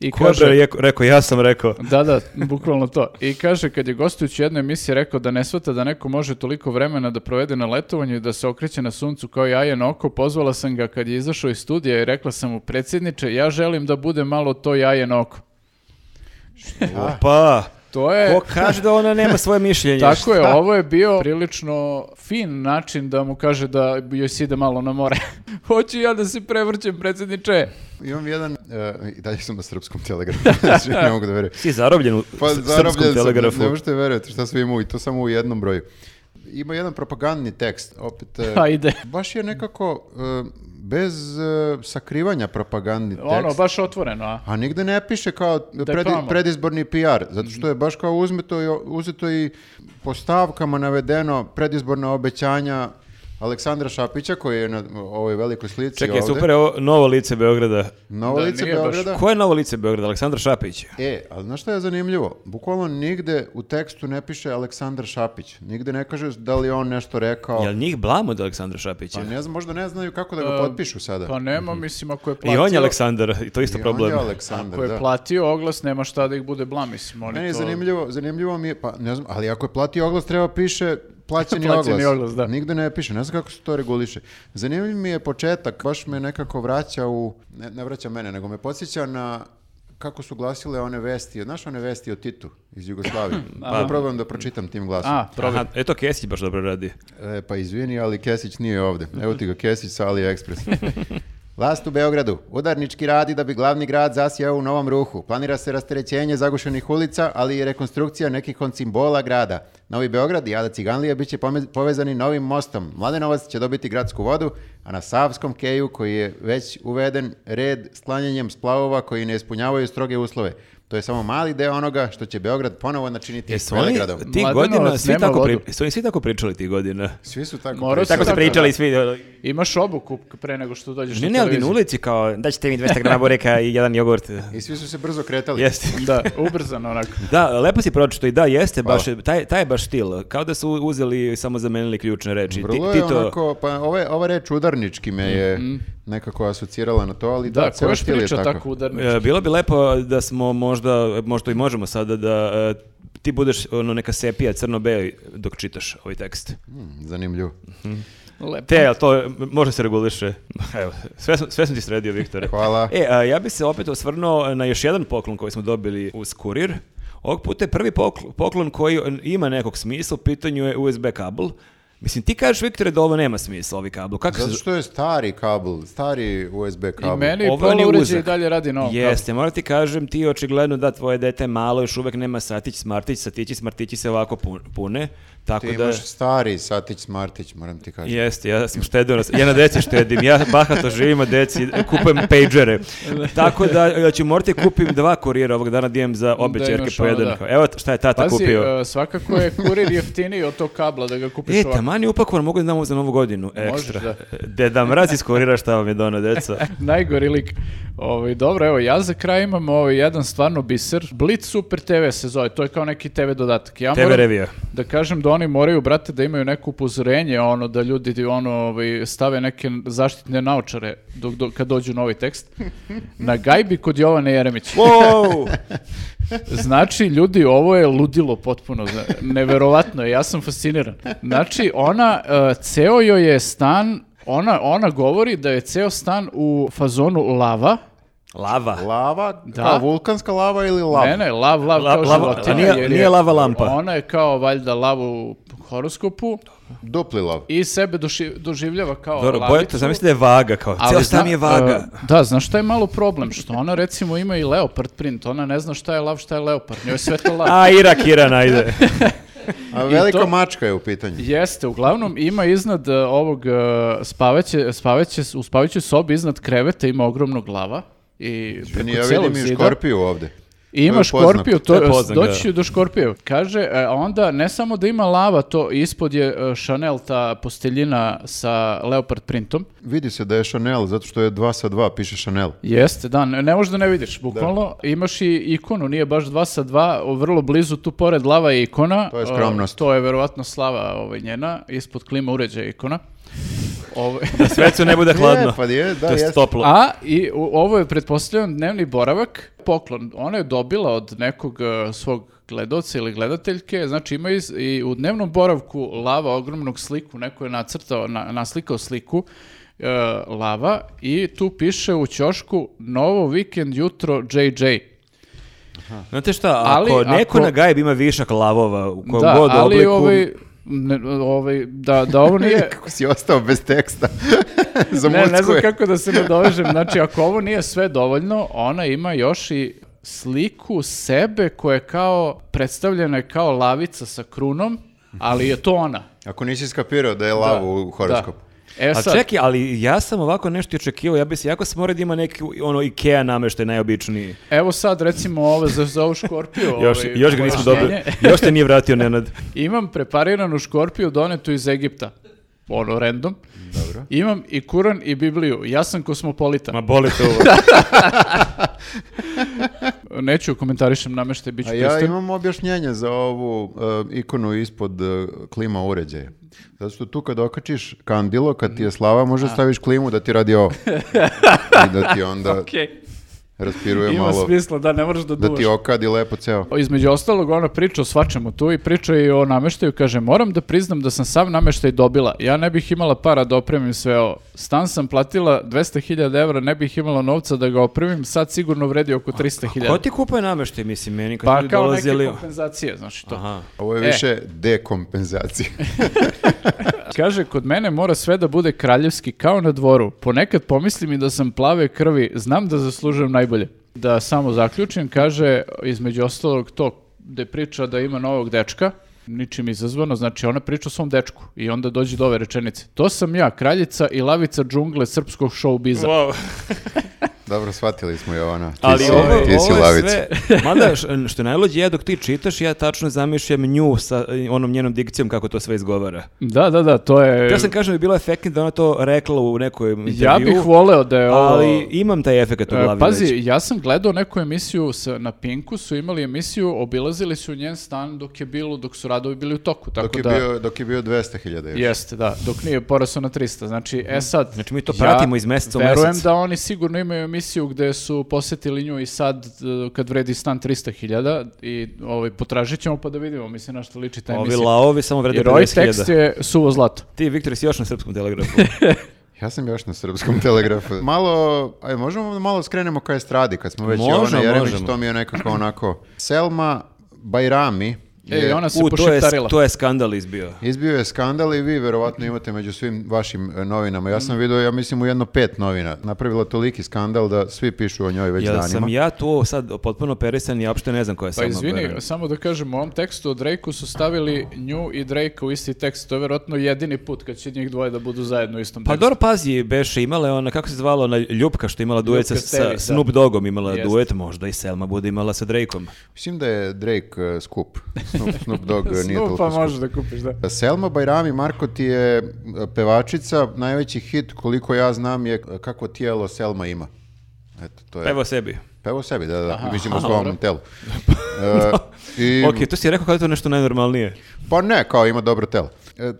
S3: I
S1: Ko je bre reko- rekao, ja sam rekao.
S3: da, da, bukvalno to. I kaže, kad je gostujući jedne emisije rekao da ne shvata da neko može toliko vremena da provede na letovanju i da se okreće na suncu kao jaje na oko, pozvala sam ga kad je izašao iz studija i rekla sam mu, predsjedniče, ja želim da bude malo to jaje na oko.
S1: Pa,
S3: To je...
S1: ko kaže da ona nema svoje mišljenje?
S3: Tako je, ovo je bio prilično fin način da mu kaže da joj se ide malo na more. Hoću ja da se prevrćem, predsjedniče.
S2: Imam jedan, e, i dalje sam na srpskom telegrafu, znači ne mogu da verujem.
S1: Si zarobljen u
S2: Pa
S1: s-
S2: zarobljen
S1: srpskom
S2: sam,
S1: telegrafu.
S2: ne možete verujeti šta sve ima i to samo u jednom broju. Ima jedan propagandni tekst, opet, e,
S3: Ajde.
S2: baš je nekako e, bez e, sakrivanja propagandni tekst.
S3: Ono, baš otvoreno, a?
S2: A nigde ne piše kao predi-
S3: promo.
S2: predizborni PR, zato
S3: Mhm.
S2: što je baš kao uzmeto i, uzeto i po stavkama navedeno predizborna obećanja Aleksandra Šapića koji je na ovoj velikoj slici
S1: Čekaj,
S2: ovde.
S1: super je ovo novo lice Beograda.
S2: Novo
S3: Da,
S2: lice
S3: nije baš.
S2: Beograda.
S1: Ko je novo lice Beograda? Aleksandar Šapić.
S2: E, ali znaš šta je zanimljivo? Bukvalno nigde u tekstu ne piše Aleksandar Šapić. Nigde ne kaže da li je on nešto rekao.
S1: Jel njih blamo od Aleksandra Šapića?
S2: Pa ne znam, možda ne znaju kako da ga potpišu sada.
S3: Pa nema, mislim, ako je platio...
S1: I on je Aleksandar, i to je isto
S2: I on
S1: problem.
S2: je Aleksandar,
S3: Ako je
S2: da.
S3: platio oglas, nema šta da ih bude blam, mislim, oni
S2: Meni je
S3: to...
S2: zanimljivo, zanimljivo mi je, pa ne znam, ali ako je platio oglas, treba piše plaćeni,
S3: Plaćeni
S2: oglas.
S3: oglas, da.
S2: Nigde ne piše, ne znam kako se to reguliše. Zanimljiv mi je početak, baš me nekako vraća u, ne, ne vraća mene, nego me podsjeća na kako su glasile one vesti, znaš one vesti o Titu iz Jugoslavije? da probam da pročitam tim glasom.
S3: Pa. A, probaj.
S1: Aha, eto Kesić baš dobro radi.
S2: E, pa izvini, ali Kesić nije ovde. Evo ti ga Kesić sa AliExpress. Vlast u Beogradu. Udarnički radi da bi glavni grad zasjao u novom ruhu. Planira se rasterećenje zagušenih ulica, ali i rekonstrukcija nekih od simbola grada. Novi Beograd i Ada Ciganlija bit će pome- povezani novim mostom. Mladenovac će dobiti gradsku vodu, a na Savskom keju koji je već uveden red sklanjanjem splavova koji ne ispunjavaju stroge uslove. To je samo mali deo onoga što će Beograd ponovo načiniti
S1: Jesu oni
S2: velegradom.
S1: ti
S3: Mladenovac
S1: godina, svi
S3: nema
S1: tako, pri...
S3: vodu.
S1: jesu oni svi tako pričali ti godina?
S2: Svi su tako
S3: Morao
S1: Tako
S3: Tako
S1: se
S3: se
S1: pričali svi.
S3: Imaš obuku pre nego što dođeš
S1: Ne,
S3: na
S1: ne, ali na
S3: televiziju.
S1: ulici kao, daćete mi 200 grama bureka i jedan jogurt.
S2: I svi su se brzo kretali.
S1: Jeste.
S3: Da, ubrzano onako.
S1: Da, lepo si pročito i da, jeste
S2: Hvala.
S1: baš, taj, taj je baš stil. Kao da su uzeli i samo zamenili ključne reči.
S2: Vrlo
S1: ti,
S2: je
S1: ti to,
S2: onako, pa ova, ova reč udarnički me je nekako asocirala na to, ali da,
S3: Mhm. Da, ko
S2: ceo
S3: još
S2: stil je
S3: priča
S2: tako.
S3: tako udarno?
S1: E, Bilo bi lepo da smo možda, možda i možemo sada da e, ti budeš ono neka sepija crno-beo dok čitaš ovaj tekst.
S2: Mm, zanimljivo.
S3: Lepo.
S1: Te, jel to e, može se reguliše. Evo, sve, sam- sve sam ti sredio, Viktore.
S2: Hvala.
S1: E, a, ja bi se opet osvrnuo na još jedan poklon koji smo dobili uz kurir. Ovog puta je prvi pokl- poklon koji e, ima nekog smisla, u pitanju je USB kabel. Mislim, ti kažeš, Viktore, da ovo nema smisla, ovi kablu. Kako
S2: Zato
S1: se...
S2: što je stari kabel, stari USB kabel.
S3: I meni
S1: Ovo
S3: pola
S1: je
S3: uređaja
S1: uzak.
S3: i dalje radi na ovom kablu.
S1: Jeste, moram ti kažem, ti očigledno da tvoje dete malo još uvek nema satić, smartić, satići, smartići se ovako pu- pune. Tako
S2: Ti
S1: da...
S2: imaš stari Satić Smartić, moram ti kažem.
S1: Jeste, ja sam štedeo, na- ja na deci štedim, ja bahato živim na deci, kupujem pagere. Tako da, ja ću morati kupim dva kurira ovog dana, dijem za obe
S3: Da
S1: čerke
S3: imaš
S1: po
S3: ono,
S1: jedan.
S3: da.
S1: Kao, Evo šta je tata
S3: Pazi,
S1: kupio.
S3: e, svakako je kurir jeftiniji od tog kabla da ga kupiš
S1: E,
S3: ovako.
S1: taman je upakovan, mogu da damo za novu godinu, ekstra.
S3: da.
S1: Deda mraz iz kurira šta vam je dono, deca.
S3: Najgori lik. Ovaj, dobro, evo, ja za kraj imam ovaj, jedan stvarno biser. Blitz Super TV se zove, to je kao neki TV dodatak. Ja
S1: TV
S3: moram
S1: revija.
S3: Da kažem da oni moraju, brate, da imaju neko upozorenje, ono, da ljudi ono, ovaj, stave neke zaštitne naučare dok, dok, kad dođu novi tekst. Na gajbi kod Jovane Jeremića.
S1: Wow!
S3: Znači, ljudi, ovo je ludilo potpuno. zna- Neverovatno je, ja sam fasciniran. Znači, ona, e, ceo joj je stan, ona, ona govori da je ceo stan u fazonu lava,
S1: Lava.
S2: Lava, kao vulkanska lava ili lava?
S3: Ne, ne, lav, lav,
S1: La-
S3: kao
S1: lava-
S3: životinja,
S1: a nije-
S3: jer
S1: nije
S3: je-
S1: lava lampa.
S3: Ona je kao valjda lava u horoskopu
S2: Dupli lav.
S3: i sebe doši- doživljava kao
S1: Dobro,
S3: lavicu.
S1: Bojato, zamisli da je vaga, kao,
S3: ali
S1: ceo
S3: zna-
S1: stan je vaga.
S3: e, da, znaš šta je malo problem? Što ona recimo ima i leopard print, ona ne zna šta je lav, šta je leopard, njoj je sve to lav.
S1: A, Irak, Iran, ajde.
S2: A velika
S3: to-
S2: mačka je u pitanju.
S3: Jeste, uglavnom ima iznad e, ovog e, spavaće, spavaće, u spavaćoj sobi iznad kreveta ima ogromno glava i preko
S2: Ni ja
S3: celog
S2: vidim i
S3: zida.
S2: škorpiju ovde.
S3: I ima
S2: je poznato.
S3: škorpiju,
S1: To
S3: to,
S1: je poznato, da.
S3: doći ću do škorpiju. Kaže, e, onda ne samo da ima lava, to ispod je e, Chanel ta posteljina sa leopard printom.
S2: Vidi se da je Chanel, zato što je 2 sa 2, piše Chanel.
S3: Jeste, da, ne, ne možeš da ne vidiš, bukvalno. Imaš i ikonu, nije baš dva sa dva, o, vrlo blizu, tu pored lava je ikona.
S2: To je skromnost.
S3: E, To je verovatno slava ovaj, njena, ispod klima uređaja ikona. Ovo...
S1: Da svecu ne bude hladno.
S2: Je, pa je, da,
S1: to je
S2: jeste.
S1: toplo.
S3: A, i u- ovo je, pretpostavljam, dnevni boravak, poklon. Ona je dobila od nekog e, svog gledalca ili gledateljke, znači ima i, s- i u dnevnom boravku lava ogromnog sliku, neko je nacrtao, na, naslikao sliku e, lava i tu piše u ćošku novo vikend jutro JJ.
S1: Znate šta,
S3: Ali
S1: ako neko
S3: ako-
S1: na gajbi ima višak lavova u kojem
S3: Da,
S1: god
S3: ali
S1: obliku,
S3: ovaj, ne, ovaj, da, da ovo nije...
S2: Kako si ostao bez teksta? za
S3: Ne, ne znam
S2: je.
S3: kako da se nadovežem. Znači, ako ovo nije sve dovoljno, ona ima još i sliku sebe koja je kao predstavljena je kao lavica sa krunom, ali je to ona.
S2: Ako nisi skapirao da je lava u horoskopu.
S3: Da. E
S1: A
S3: sad,
S1: čekaj, ali ja sam ovako nešto i očekivao, ja bi se jako smorao da ima neki ono Ikea nameštaj najobičniji.
S3: evo sad recimo ovo za, za ovu škorpiju.
S1: Još,
S3: ovaj,
S1: još ga nismo dobro,
S3: pojašnjenje.
S1: još te nije vratio Nenad.
S3: Imam prepariranu škorpiju donetu iz Egipta. Ono, random. Dobro. Imam i Kuran i Bibliju. Ja sam kosmopolitan.
S1: Ma boli to ovo.
S3: Neću komentarišem nameštaj, bit ću
S2: A ja
S3: pristojan.
S2: imam objašnjenje za ovu e, ikonu ispod e, klima uređaja. Zato što tu kad okačiš kandilo, kad ti je slava, možda staviš klimu da ti radi ovo. I da ti onda
S3: Okej.
S2: raspiruje
S3: Ima
S2: malo,
S3: smisla, da, ne moraš da duvaš.
S2: da ti okadi lepo ceo.
S3: Pa Između ostalog, ona priča o svačemu tu i priča i o nameštaju. Kaže, moram da priznam da sam sav nameštaj dobila. Ja ne bih imala para da opremim sve ovo. Stan sam platila 200.000 evra, ne bih imala novca da ga opremim. Sad sigurno vredi oko
S1: Ko
S3: 300.000.
S1: ti kupuje nameštaj, mislim, meni kad
S3: Pa
S1: ljudi
S3: kao neke
S1: dolazili...
S3: kompenzacije, znači to.
S1: Aha.
S2: Ovo je
S3: E.
S2: više dekompenzacija.
S3: Kaže, kod mene mora sve da bude kraljevski kao na dvoru. Ponekad pomislim i da sam plave krvi, znam da zaslužujem najbolje. Da samo zaključim, kaže, između ostalog to gde priča da ima novog dečka, ničim izazvano, znači ona priča o svom dečku i onda dođe do ove rečenice. To sam ja, kraljica i lavica džungle srpskog showbiza.
S2: Dobro, shvatili smo Jovana. Ti
S1: Ali
S2: si,
S1: ovo, ovo
S2: ti si
S1: je
S2: lavica.
S1: sve, mada š- što je najlođe, ja dok ti čitaš, ja tačno zamišljam nju sa e, onom njenom dikcijom kako to sve izgovara.
S3: Da, da, da, to je...
S1: Ja sam kažem da je bila efektna da ona to rekla u nekoj intervju,
S3: E. Ja bih voleo da je ovo...
S1: ali imam taj efekt u
S3: E,
S1: glavi
S3: Pazi,
S1: već.
S3: ja sam gledao neku emisiju sa, na Pinku, su imali emisiju, obilazili su njen stan dok je bilo, dok su radovi bili u toku, tako
S2: Dok je,
S3: da...
S2: bio, dok je bio 200.000 još.
S3: Jeste, da, dok nije porasao na 300. Znači, e sad...
S1: Znači, mi to pratimo iz meseca u
S3: Verujem
S1: mesec.
S3: da oni sigurno imaju emisiju gde su posetili nju i sad, e, kad vredi stan 300.000 i ovaj, potražit ćemo pa da vidimo, mislim, na što liči ta
S1: Ovi
S3: emisija.
S1: laovi samo vrede
S3: Jer ovaj
S1: 50.000.
S3: tekst je suvo zlato.
S1: Ti, Viktor, si još na srpskom telegrafu.
S2: Ja sam još na srpskom telegrafu. Malo, aj, možemo da malo skrenemo ka estradi, kad smo već
S1: Možemo,
S2: Jovana Jeremić,
S1: možemo.
S2: to mi je nekako onako. Selma Bajrami
S3: Ej, E, ona se
S1: U, to je,
S3: pošiptarila.
S1: to je skandal izbio.
S2: Izbio je skandal i vi verovatno imate među svim vašim e, novinama. Ja sam vidio, ja mislim, u jedno pet novina. Napravila toliki skandal da svi pišu o njoj već
S1: Jel
S2: danima.
S1: sam ja tu sad potpuno perisan i ja uopšte ne znam koja je
S3: Pa
S1: Selma
S3: izvini,
S1: Blair.
S3: samo da kažem, u ovom tekstu o Drake-u su stavili nju i Drake-a u isti tekst. To je vjerojatno jedini put kad će njih dvoje da budu zajedno u istom
S1: Pa
S3: tekstu.
S1: dobro, pazi, beše imala je ona, kako se zvala, ona Ljupka što je imala duet sa,
S3: Ljupka
S1: sa
S3: Stević, da.
S1: Snoop Dogom, imala je
S3: Jeste.
S1: duet, možda i Selma bude imala sa Drakeom.
S2: Mislim da je Drake e, skup. Snoop, Snoop Dogg e, nije
S3: Snoop,
S2: toliko
S3: pa
S2: skup.
S3: možeš da kupiš, da.
S2: Selma Bajrami Marko ti je e, pevačica, najveći hit koliko ja znam je e, kako tijelo Selma ima. Eto, to je.
S1: Evo sebi.
S2: Pevo Pa sebi, da, da, mislim u
S1: aha,
S2: svom
S3: dobro.
S2: telu. E, i,
S1: Ok, to si rekao kao da je to nešto najnormalnije.
S2: Pa ne, kao ima dobro telo. E, e,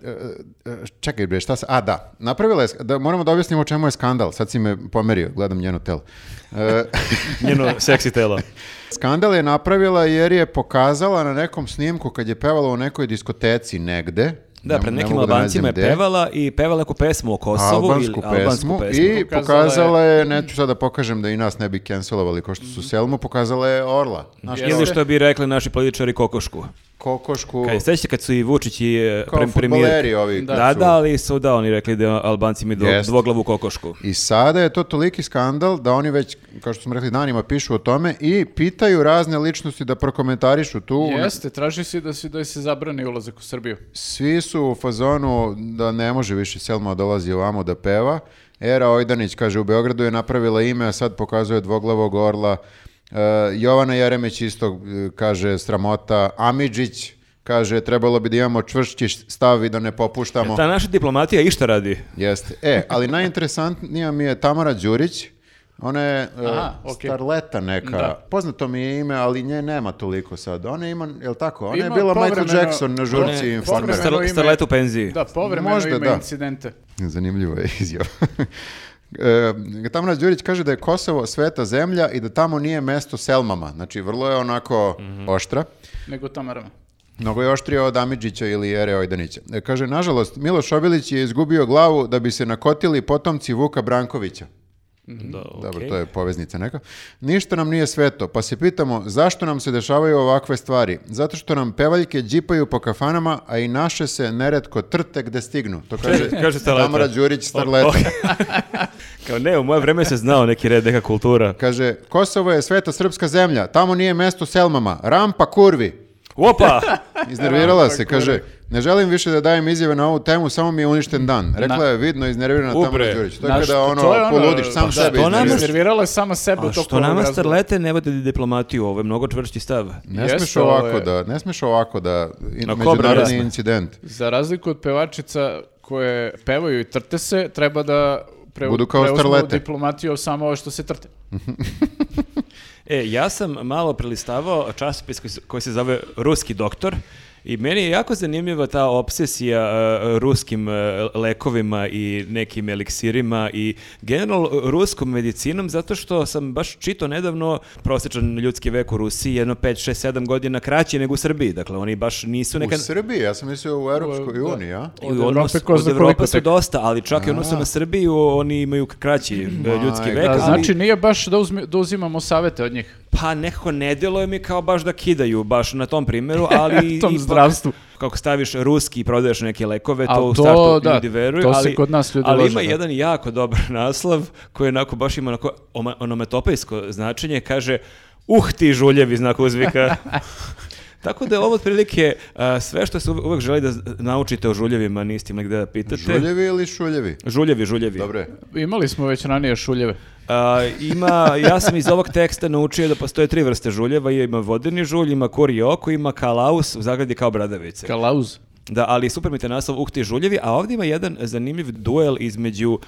S2: e, čekaj bre, šta se... A, da, napravila je... sk- Da, moramo da objasnimo o čemu je skandal. Sad si me pomerio, gledam njeno telo. E,
S1: Njeno seksi telo.
S2: skandal je napravila jer je pokazala na nekom snimku kad je pevala u nekoj diskoteci negde.
S1: Da,
S2: Ne-
S1: pred
S2: ne
S1: nekim
S2: mogu da
S1: Albancima je
S2: nađem gde.
S1: pevala i pevala neku pesmu o Kosovu.
S2: albansku,
S1: ili,
S2: pesmu, i
S3: Pokazala
S2: pokazala je, neću sad da pokažem da i nas ne bi cancelovali kao što su
S1: Mhm.
S2: Selmu, pokazala je Orla, naš
S3: Jeste.
S1: Ili što bi rekli naši političari kokošku.
S2: kokošku,
S1: Kaj, sećate kad su i Vučić i e,
S2: kao
S1: prem- premijer...
S2: futboleri ovi.
S1: Da,
S2: koji
S1: da,
S2: su-
S1: ali su da, oni rekli da Albanci mi
S2: Jeste.
S1: dvoglavu kokošku.
S2: I sada je to toliki skandal da oni već, kao što smo rekli, danima pišu o tome i pitaju razne ličnosti da prokomentarišu tu.
S3: Jeste, traži si da, si, da joj se zabrani ulazak u Srbiju.
S2: Svi su u fazonu da ne može više Selma dolazi ovamo da peva. Era Ojdanić, kaže, u Beogradu je napravila ime, a sad pokazuje dvoglavog orla. E, Jovana Jeremić isto e, kaže sramota. Amidžić kaže trebalo bi da imamo čvršći stav i da ne popuštamo.
S1: Ta naša diplomatija išta radi.
S2: Jeste. E, ali najinteresantnija mi je Tamara Đurić. Ona je e,
S3: Aha, okej.
S2: starleta neka.
S3: Da.
S2: Poznato mi je ime, ali nje nema toliko sad. Ona ima, je li tako? Ona
S3: Ima
S2: je bila Michael
S3: povremeno-
S2: Jackson na žurci
S3: Ne,
S2: informera.
S3: povremeno
S1: Star-
S3: ima-
S1: starlet u penziji.
S3: Da, povremeno
S2: Možda
S3: ima
S2: da.
S3: incidente.
S2: Zanimljivo je izjava. E, Tamara Đurić kaže da je Kosovo sveta zemlja i da tamo nije mesto Selmama. Znači, vrlo je onako
S3: Mhm.
S2: oštra.
S3: Nego Tamarama.
S2: Mnogo je oštrije od Amidžića ili Ere Ojdanića. E, Kaže, nažalost, Miloš Obilić je izgubio glavu da bi se nakotili potomci Vuka Brankovića.
S1: Da,
S2: Dobro,
S1: okej.
S2: to je poveznica neka. Ništa nam nije sveto, pa se pitamo zašto nam se dešavaju ovakve stvari. Zato što nam pevaljke džipaju po kafanama, a i naše se neretko trte gde stignu. To kaže,
S1: kaže starleta.
S2: Tamara Đurić Starleta.
S1: O- ok. Kao ne, u moje vreme se znao neki red, neka kultura.
S2: Kaže, Kosovo je sveta srpska zemlja, tamo nije mesto Selmama, rampa kurvi.
S1: Opa!
S2: Iznervirala se, kaže, ne želim više da dajem izjave na ovu temu, samo mi je uništen dan. Rekla je vidno iznervirana Tamara
S1: Upre.
S2: Đurić. To je
S3: Znaš,
S2: kada ono,
S3: to je ono-
S2: poludiš, sam
S3: Pa
S2: sebe
S1: što nama-
S2: iznerviraš.
S3: Iznervirala je sama sebe u
S1: A
S3: toku
S1: što nama
S3: ovog razgovora.
S1: starlete ne vode diplomatiju, ovo je mnogo čvršći stav.
S2: Ne
S3: Jeste,
S2: smeš
S3: ovo je-
S2: ovako da, ne smeš ovako da, i-
S1: ovaj- Na kobra
S2: međunarodni
S1: jasno.
S2: incident.
S3: Za razliku od pevačica koje pevaju i trte se, treba da pre,
S2: Budu kao
S3: preuzmu
S2: starlete.
S3: diplomatiju samo ovo što se trte.
S1: E, ja sam malo prelistavao časopis koji, se- koji se zove Ruski doktor i meni je jako zanimljiva ta obsesija e, ruskim e, lekovima i nekim eliksirima i generalno ruskom medicinom zato što sam baš čito nedavno prosječan ljudski vek u Rusiji jedno 5, 6, 7 godina kraći nego u Srbiji. Dakle, oni baš nisu neka... Ovaj-
S2: U Srbiji, ja sam mislio u Europskoj
S3: Da.
S2: uniji, a?
S1: I
S3: Od
S1: u
S3: Evrope
S1: odnosu-
S3: ko
S1: od
S3: zna
S1: Evrope
S3: koliko
S1: su
S3: tek.
S1: dosta, ali čak i u odnosu na Srbiju oni imaju kraći e, ljudski
S2: Majka.
S1: vek.
S2: Da,
S1: ali-
S3: Da, znači nije baš da, uzmi- da uzimamo savete od njih.
S1: Pa nekako ne deluje mi kao baš da kidaju baš na tom primjeru, ali...
S3: Tom
S1: ipak,
S3: zdravstvu.
S1: Kako staviš ruski i prodaješ neke lekove, to
S3: Al
S1: u
S3: to,
S1: startu
S3: da,
S1: ljudi veruju,
S3: to se
S1: ali,
S3: kod nas ljudi
S1: ali
S3: lože,
S1: ima
S3: da.
S1: jedan jako dobar naslov koji onako baš ima onako oma- onomatopejsko značenje, kaže uh ti žuljevi znak uzvika. Tako da je ovo otprilike a, sve što se uve- uvek želi da z- naučite o žuljevima, niste imali gde da pitate.
S2: Žuljevi ili šuljevi?
S1: Žuljevi, žuljevi.
S2: Dobro je.
S3: Imali smo već ranije šuljeve.
S1: A, ima, ja sam iz ovog teksta naučio da postoje tri vrste žuljeva, ima vodeni žulj, ima kuri oko, ima kalaus, u zagradi kao bradavice.
S3: Kalauz.
S1: Da, ali super mi te naslov Uhti žuljevi, a ovdje ima jedan zanimljiv duel između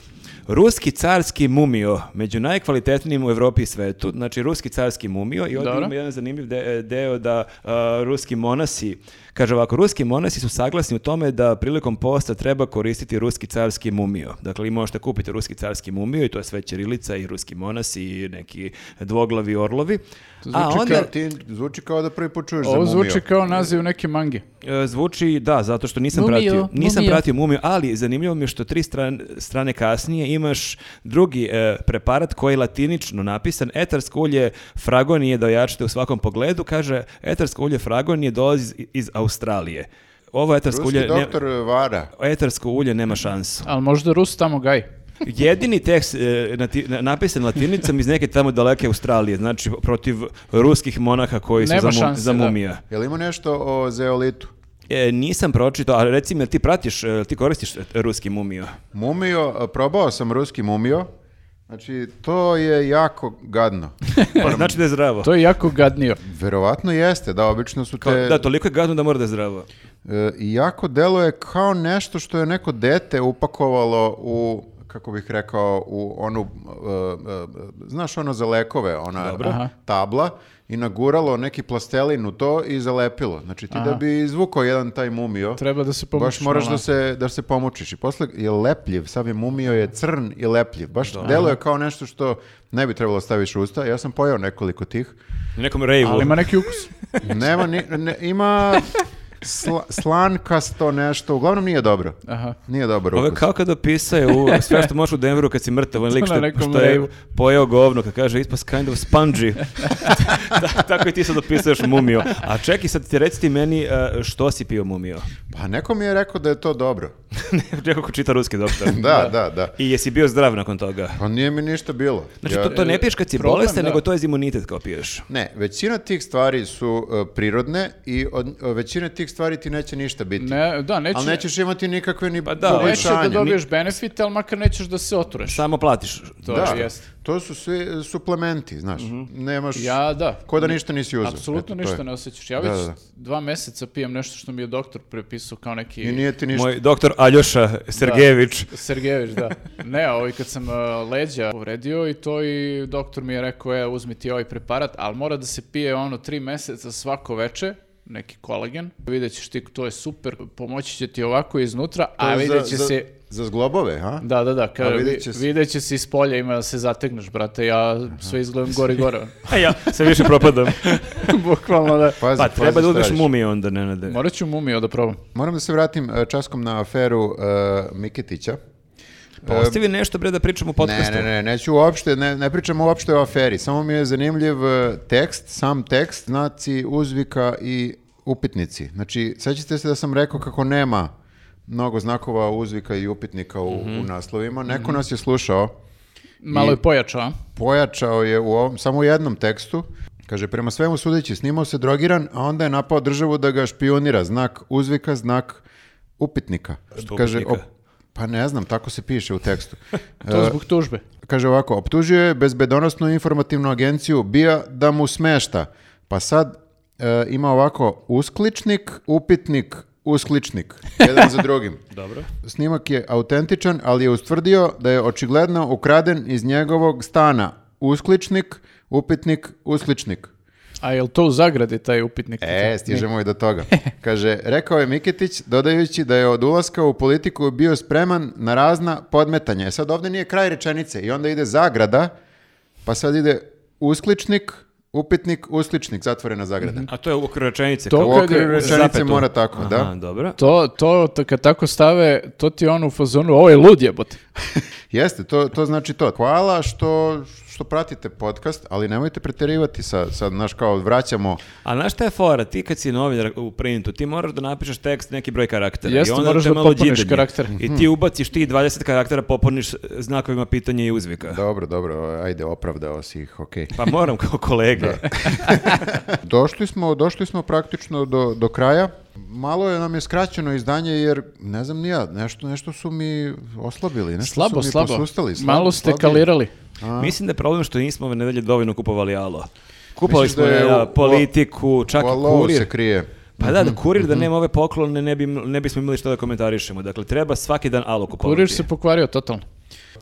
S1: ruski carski mumio, među najkvalitetnijim u Evropi i svetu, znači ruski carski mumio i ovdje
S3: Dobro.
S1: ima jedan zanimljiv de- deo da a, ruski monasi, kaže ovako, ruski monasi su saglasni u tome da prilikom posta treba koristiti ruski carski mumio. Dakle, vi možete kupiti ruski carski mumio i to je sve ćirilica i ruski monasi i neki dvoglavi orlovi. a
S2: Zvuči,
S1: onda
S2: znači kao, ti, zvuči kao da prvi put čuješ za
S3: Ovo
S2: mumiju.
S3: zvuči kao naziv neke mange.
S1: E, Zvuči, da, zato što nisam
S4: Mumiju,
S1: pratio. Nisam
S4: mumiju.
S1: pratio mumiju, ali zanimljivo mi je što tri stran- strane kasnije imaš drugi e, preparat koji je latinično napisan. Etarsko ulje fragonije, da ojačite u svakom pogledu, kaže etarsko ulje fragonije dolazi iz, iz Australije. Ovo etarsko
S2: Ruski
S1: ulje, ne,
S2: doktor Vara.
S1: etarsko ulje nema šansu.
S3: Ali možda Rus tamo gaj.
S1: Jedini tekst e, nati- na- napisan latinicom iz neke tamo daleke Australije, znači protiv ruskih monaha koji su
S3: Nema
S1: za, mu-
S3: šanse,
S1: za
S3: da.
S1: mumija.
S2: Je li ima nešto o zeolitu?
S1: E, nisam pročitao, ali reci mi, jel ti pratiš, e, jel ti koristiš e, ruski mumiju?
S2: Mumio, a, probao sam ruski mumio. Znači, to je jako gadno.
S1: znači da je zdravo.
S3: To je jako gadnio.
S2: Verovatno jeste, da, obično su
S1: Kao-
S2: te...
S1: Da, toliko je gadno da mora da je zdravo.
S2: E, I jako deluje kao nešto što je neko dete upakovalo u kako bih rekao, u onu, e, e, znaš ono za lekove, ona
S3: Aha.
S2: tabla, i naguralo neki plastelin u to i zalepilo. Znači ti da bi izvukao jedan taj mumio,
S3: Treba da se pomoći.
S2: baš moraš da se, da se pomučiš. I posle je lepljiv, sav je mumio je crn i lepljiv. Baš deluje kao nešto što ne bi trebalo staviš u usta. Ja sam pojeo nekoliko tih.
S1: U nekom rejvu.
S3: Ali ima neki ukus.
S2: Nema, ni- ne- ima sla, slankasto nešto, uglavnom nije dobro.
S3: Aha.
S2: Nije dobar
S1: Ovo je
S2: ukus.
S1: Pa kao kada opisaju u- sve što možeš u Denveru kad si mrtav, on lik
S3: To na
S1: što,
S3: nekom
S1: što je
S3: reju.
S1: pojeo govno, kad kaže it was kind of spongy. Ta- tako i ti sad opisuješ mumiju. A čekaj sad, ti reci ti meni e, što si pio mumiju.
S2: Pa neko mi je rekao da je to dobro.
S1: Neko ko čita ruski doktor.
S2: Da, da, da.
S1: I jesi bio zdrav nakon toga?
S2: Pa nije mi ništa bilo.
S1: Znači,
S2: Ja-
S1: to, to ne piješ kad si
S3: Problem,
S1: bolestan,
S3: da.
S1: nego to je iz imunitet kao piješ.
S2: Ne, većina tih stvari su e, prirodne i od e, većine tih stvari ti neće ništa biti.
S3: Ne, da, neće,
S2: Ali nećeš imati nikakve ni
S1: da,
S2: poboljšanja.
S3: neće da
S1: poboljšanja,
S3: dobiješ benefite, ali makar nećeš da se otureš.
S1: Samo platiš.
S3: To
S2: Da,
S3: je, jeste. Mhm.
S2: to su svi e, suplementi, znaš. Nemaš...
S3: Ja, da.
S2: Ko da ništa nisi uzeo. Eto, to
S3: Apsolutno ništa
S2: je.
S3: ne osjećaš. Ja
S2: Da,
S3: već
S2: da, da.
S3: dva meseca pijem nešto što mi je doktor prepisao kao neki...
S2: I nije ti ništa.
S1: Moj doktor Aljoša Sergejević.
S3: Sergejević, da. Ne, a ovaj kad sam uh, leđa povredio i to i doktor mi je rekao, e, uzmi ti ovaj preparat, ali mora da se pije ono tri meseca svako veče, neki kolagen. Vidjet ćeš ti, to je super, pomoći će ti ovako iznutra,
S2: To je
S3: a vidjet će
S2: za,
S3: se...
S2: Za, za zglobove, ha?
S3: Da, da, da,
S2: A
S3: kao,
S2: vidjet
S3: vidjet,
S2: će
S3: će
S2: se-
S3: se iz polja, ima da se zategneš, brate, ja sve izgledam gore i gore.
S1: A E, ja se više propadam.
S3: Bukvalno da.
S2: Pazi,
S1: Pa
S2: pazi
S1: treba da
S2: šta
S1: uzmeš
S2: radiš.
S1: mumiju onda, ne nade.
S3: Morat ću mumio da probam.
S2: Moram da se vratim e, časkom na aferu e, Miketića.
S1: Pa ostavi nešto bre da pričamo u
S2: Ne,
S1: podcastu.
S2: ne, ne, neću uopšte, ne, ne pričam uopšte o aferi, samo mi je zanimljiv e, tekst, sam tekst, znaci uzvika i upitnici. Znači, sećate se da sam rekao kako nema mnogo znakova uzvika i upitnika u, u naslovima. Neko nas je slušao,
S3: Malo je pojačao, a?
S2: pojačao je u ovom, samo u jednom tekstu, kaže, prema svemu sudeći, snimao se drogiran, a onda je napao državu da ga špionira, znak uzvika, znak upitnika.
S1: Što
S2: kaže,
S1: upitnika?
S2: op- pa ne znam, tako se piše u tekstu. E,
S3: To zbog tužbe.
S2: Kaže ovako, optužio je bezbedonosnu informativnu agenciju BIA da mu smešta. Pa sad e, ima ovako uskličnik, upitnik, uskličnik. Jedan za drugim.
S1: Dobro.
S2: Snimak je autentičan, ali je ustvrdio da je očigledno ukraden iz njegovog stana. Uskličnik, upitnik, uskličnik.
S3: A je li to u zagradi taj upitnik?
S2: E, stižemo i do toga. Kaže, rekao je Miketić, dodajući da je od ulaska u politiku bio spreman na razna podmetanja. E sad ovdje nije kraj rečenice i onda ide zagrada, pa sad ide uskličnik, upitnik, uskličnik, zatvorena zagrada.
S1: A to je u rečenice.
S3: To
S1: kao-
S2: U
S3: kad je
S2: okviru
S3: u
S2: rečenice
S1: zapetu.
S2: mora tako,
S1: Aha,
S2: da.
S1: dobro.
S3: To, to, to kad tako stave, to ti je on u fazonu, ovo je lud jebote.
S2: Jeste, to, to znači to. Hvala što, što pratite podcast, ali nemojte preterivati sa, sad, znaš, kao vraćamo
S1: A znaš šta je fora? Ti kad si novinar u printu, ti moraš da napišeš tekst neki broj karaktera.
S3: Jeste,
S1: I onda
S3: moraš
S1: te
S3: da
S1: malo
S3: popuniš
S1: đidanje.
S3: karakter.
S1: I
S2: Mhm.
S1: ti ubaciš ti 20 karaktera, popuniš e, znakovima pitanja i uzvika.
S2: Dobro, dobro, ajde, opravdao si ih, okej.
S1: Pa moram kao kolega.
S2: Došli smo, došli smo praktično do, do kraja. Malo je nam je skraćeno izdanje jer ne znam ni ja, nešto nešto su mi oslabili, nešto
S3: Slabo,
S2: su mi
S3: slabo.
S2: posustali. slabo,
S3: Malo ste
S2: slabije.
S3: kalirali.
S1: Mislim da je problem što nismo ove nedelje dovoljno kupovali alo. Kupovali
S2: Misliš
S1: smo
S2: da je
S1: ja,
S2: u-
S1: politiku, čak
S2: U
S1: i
S2: Alou
S1: kurir.
S2: se krije.
S1: Pa
S3: Mhm,
S1: da, da kurir da nema ove poklone ne, bi, ne bismo imali što da komentarišemo. Dakle, treba svaki dan alo kupovati.
S3: Kurir se pokvario totalno.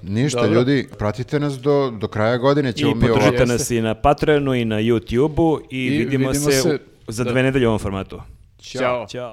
S2: Ništa
S3: Dobro.
S2: ljudi, pratite nas do, do kraja godine ćemo
S1: I
S2: mi ovo.
S1: podržite
S3: Jeste.
S1: nas i na Patreonu i na YouTubeu i,
S3: I
S1: vidimo,
S3: vidimo
S1: se, u-
S3: se-
S1: za
S3: da.
S1: dve nedelje u ovom formatu.
S3: Ćao.
S1: Ćao.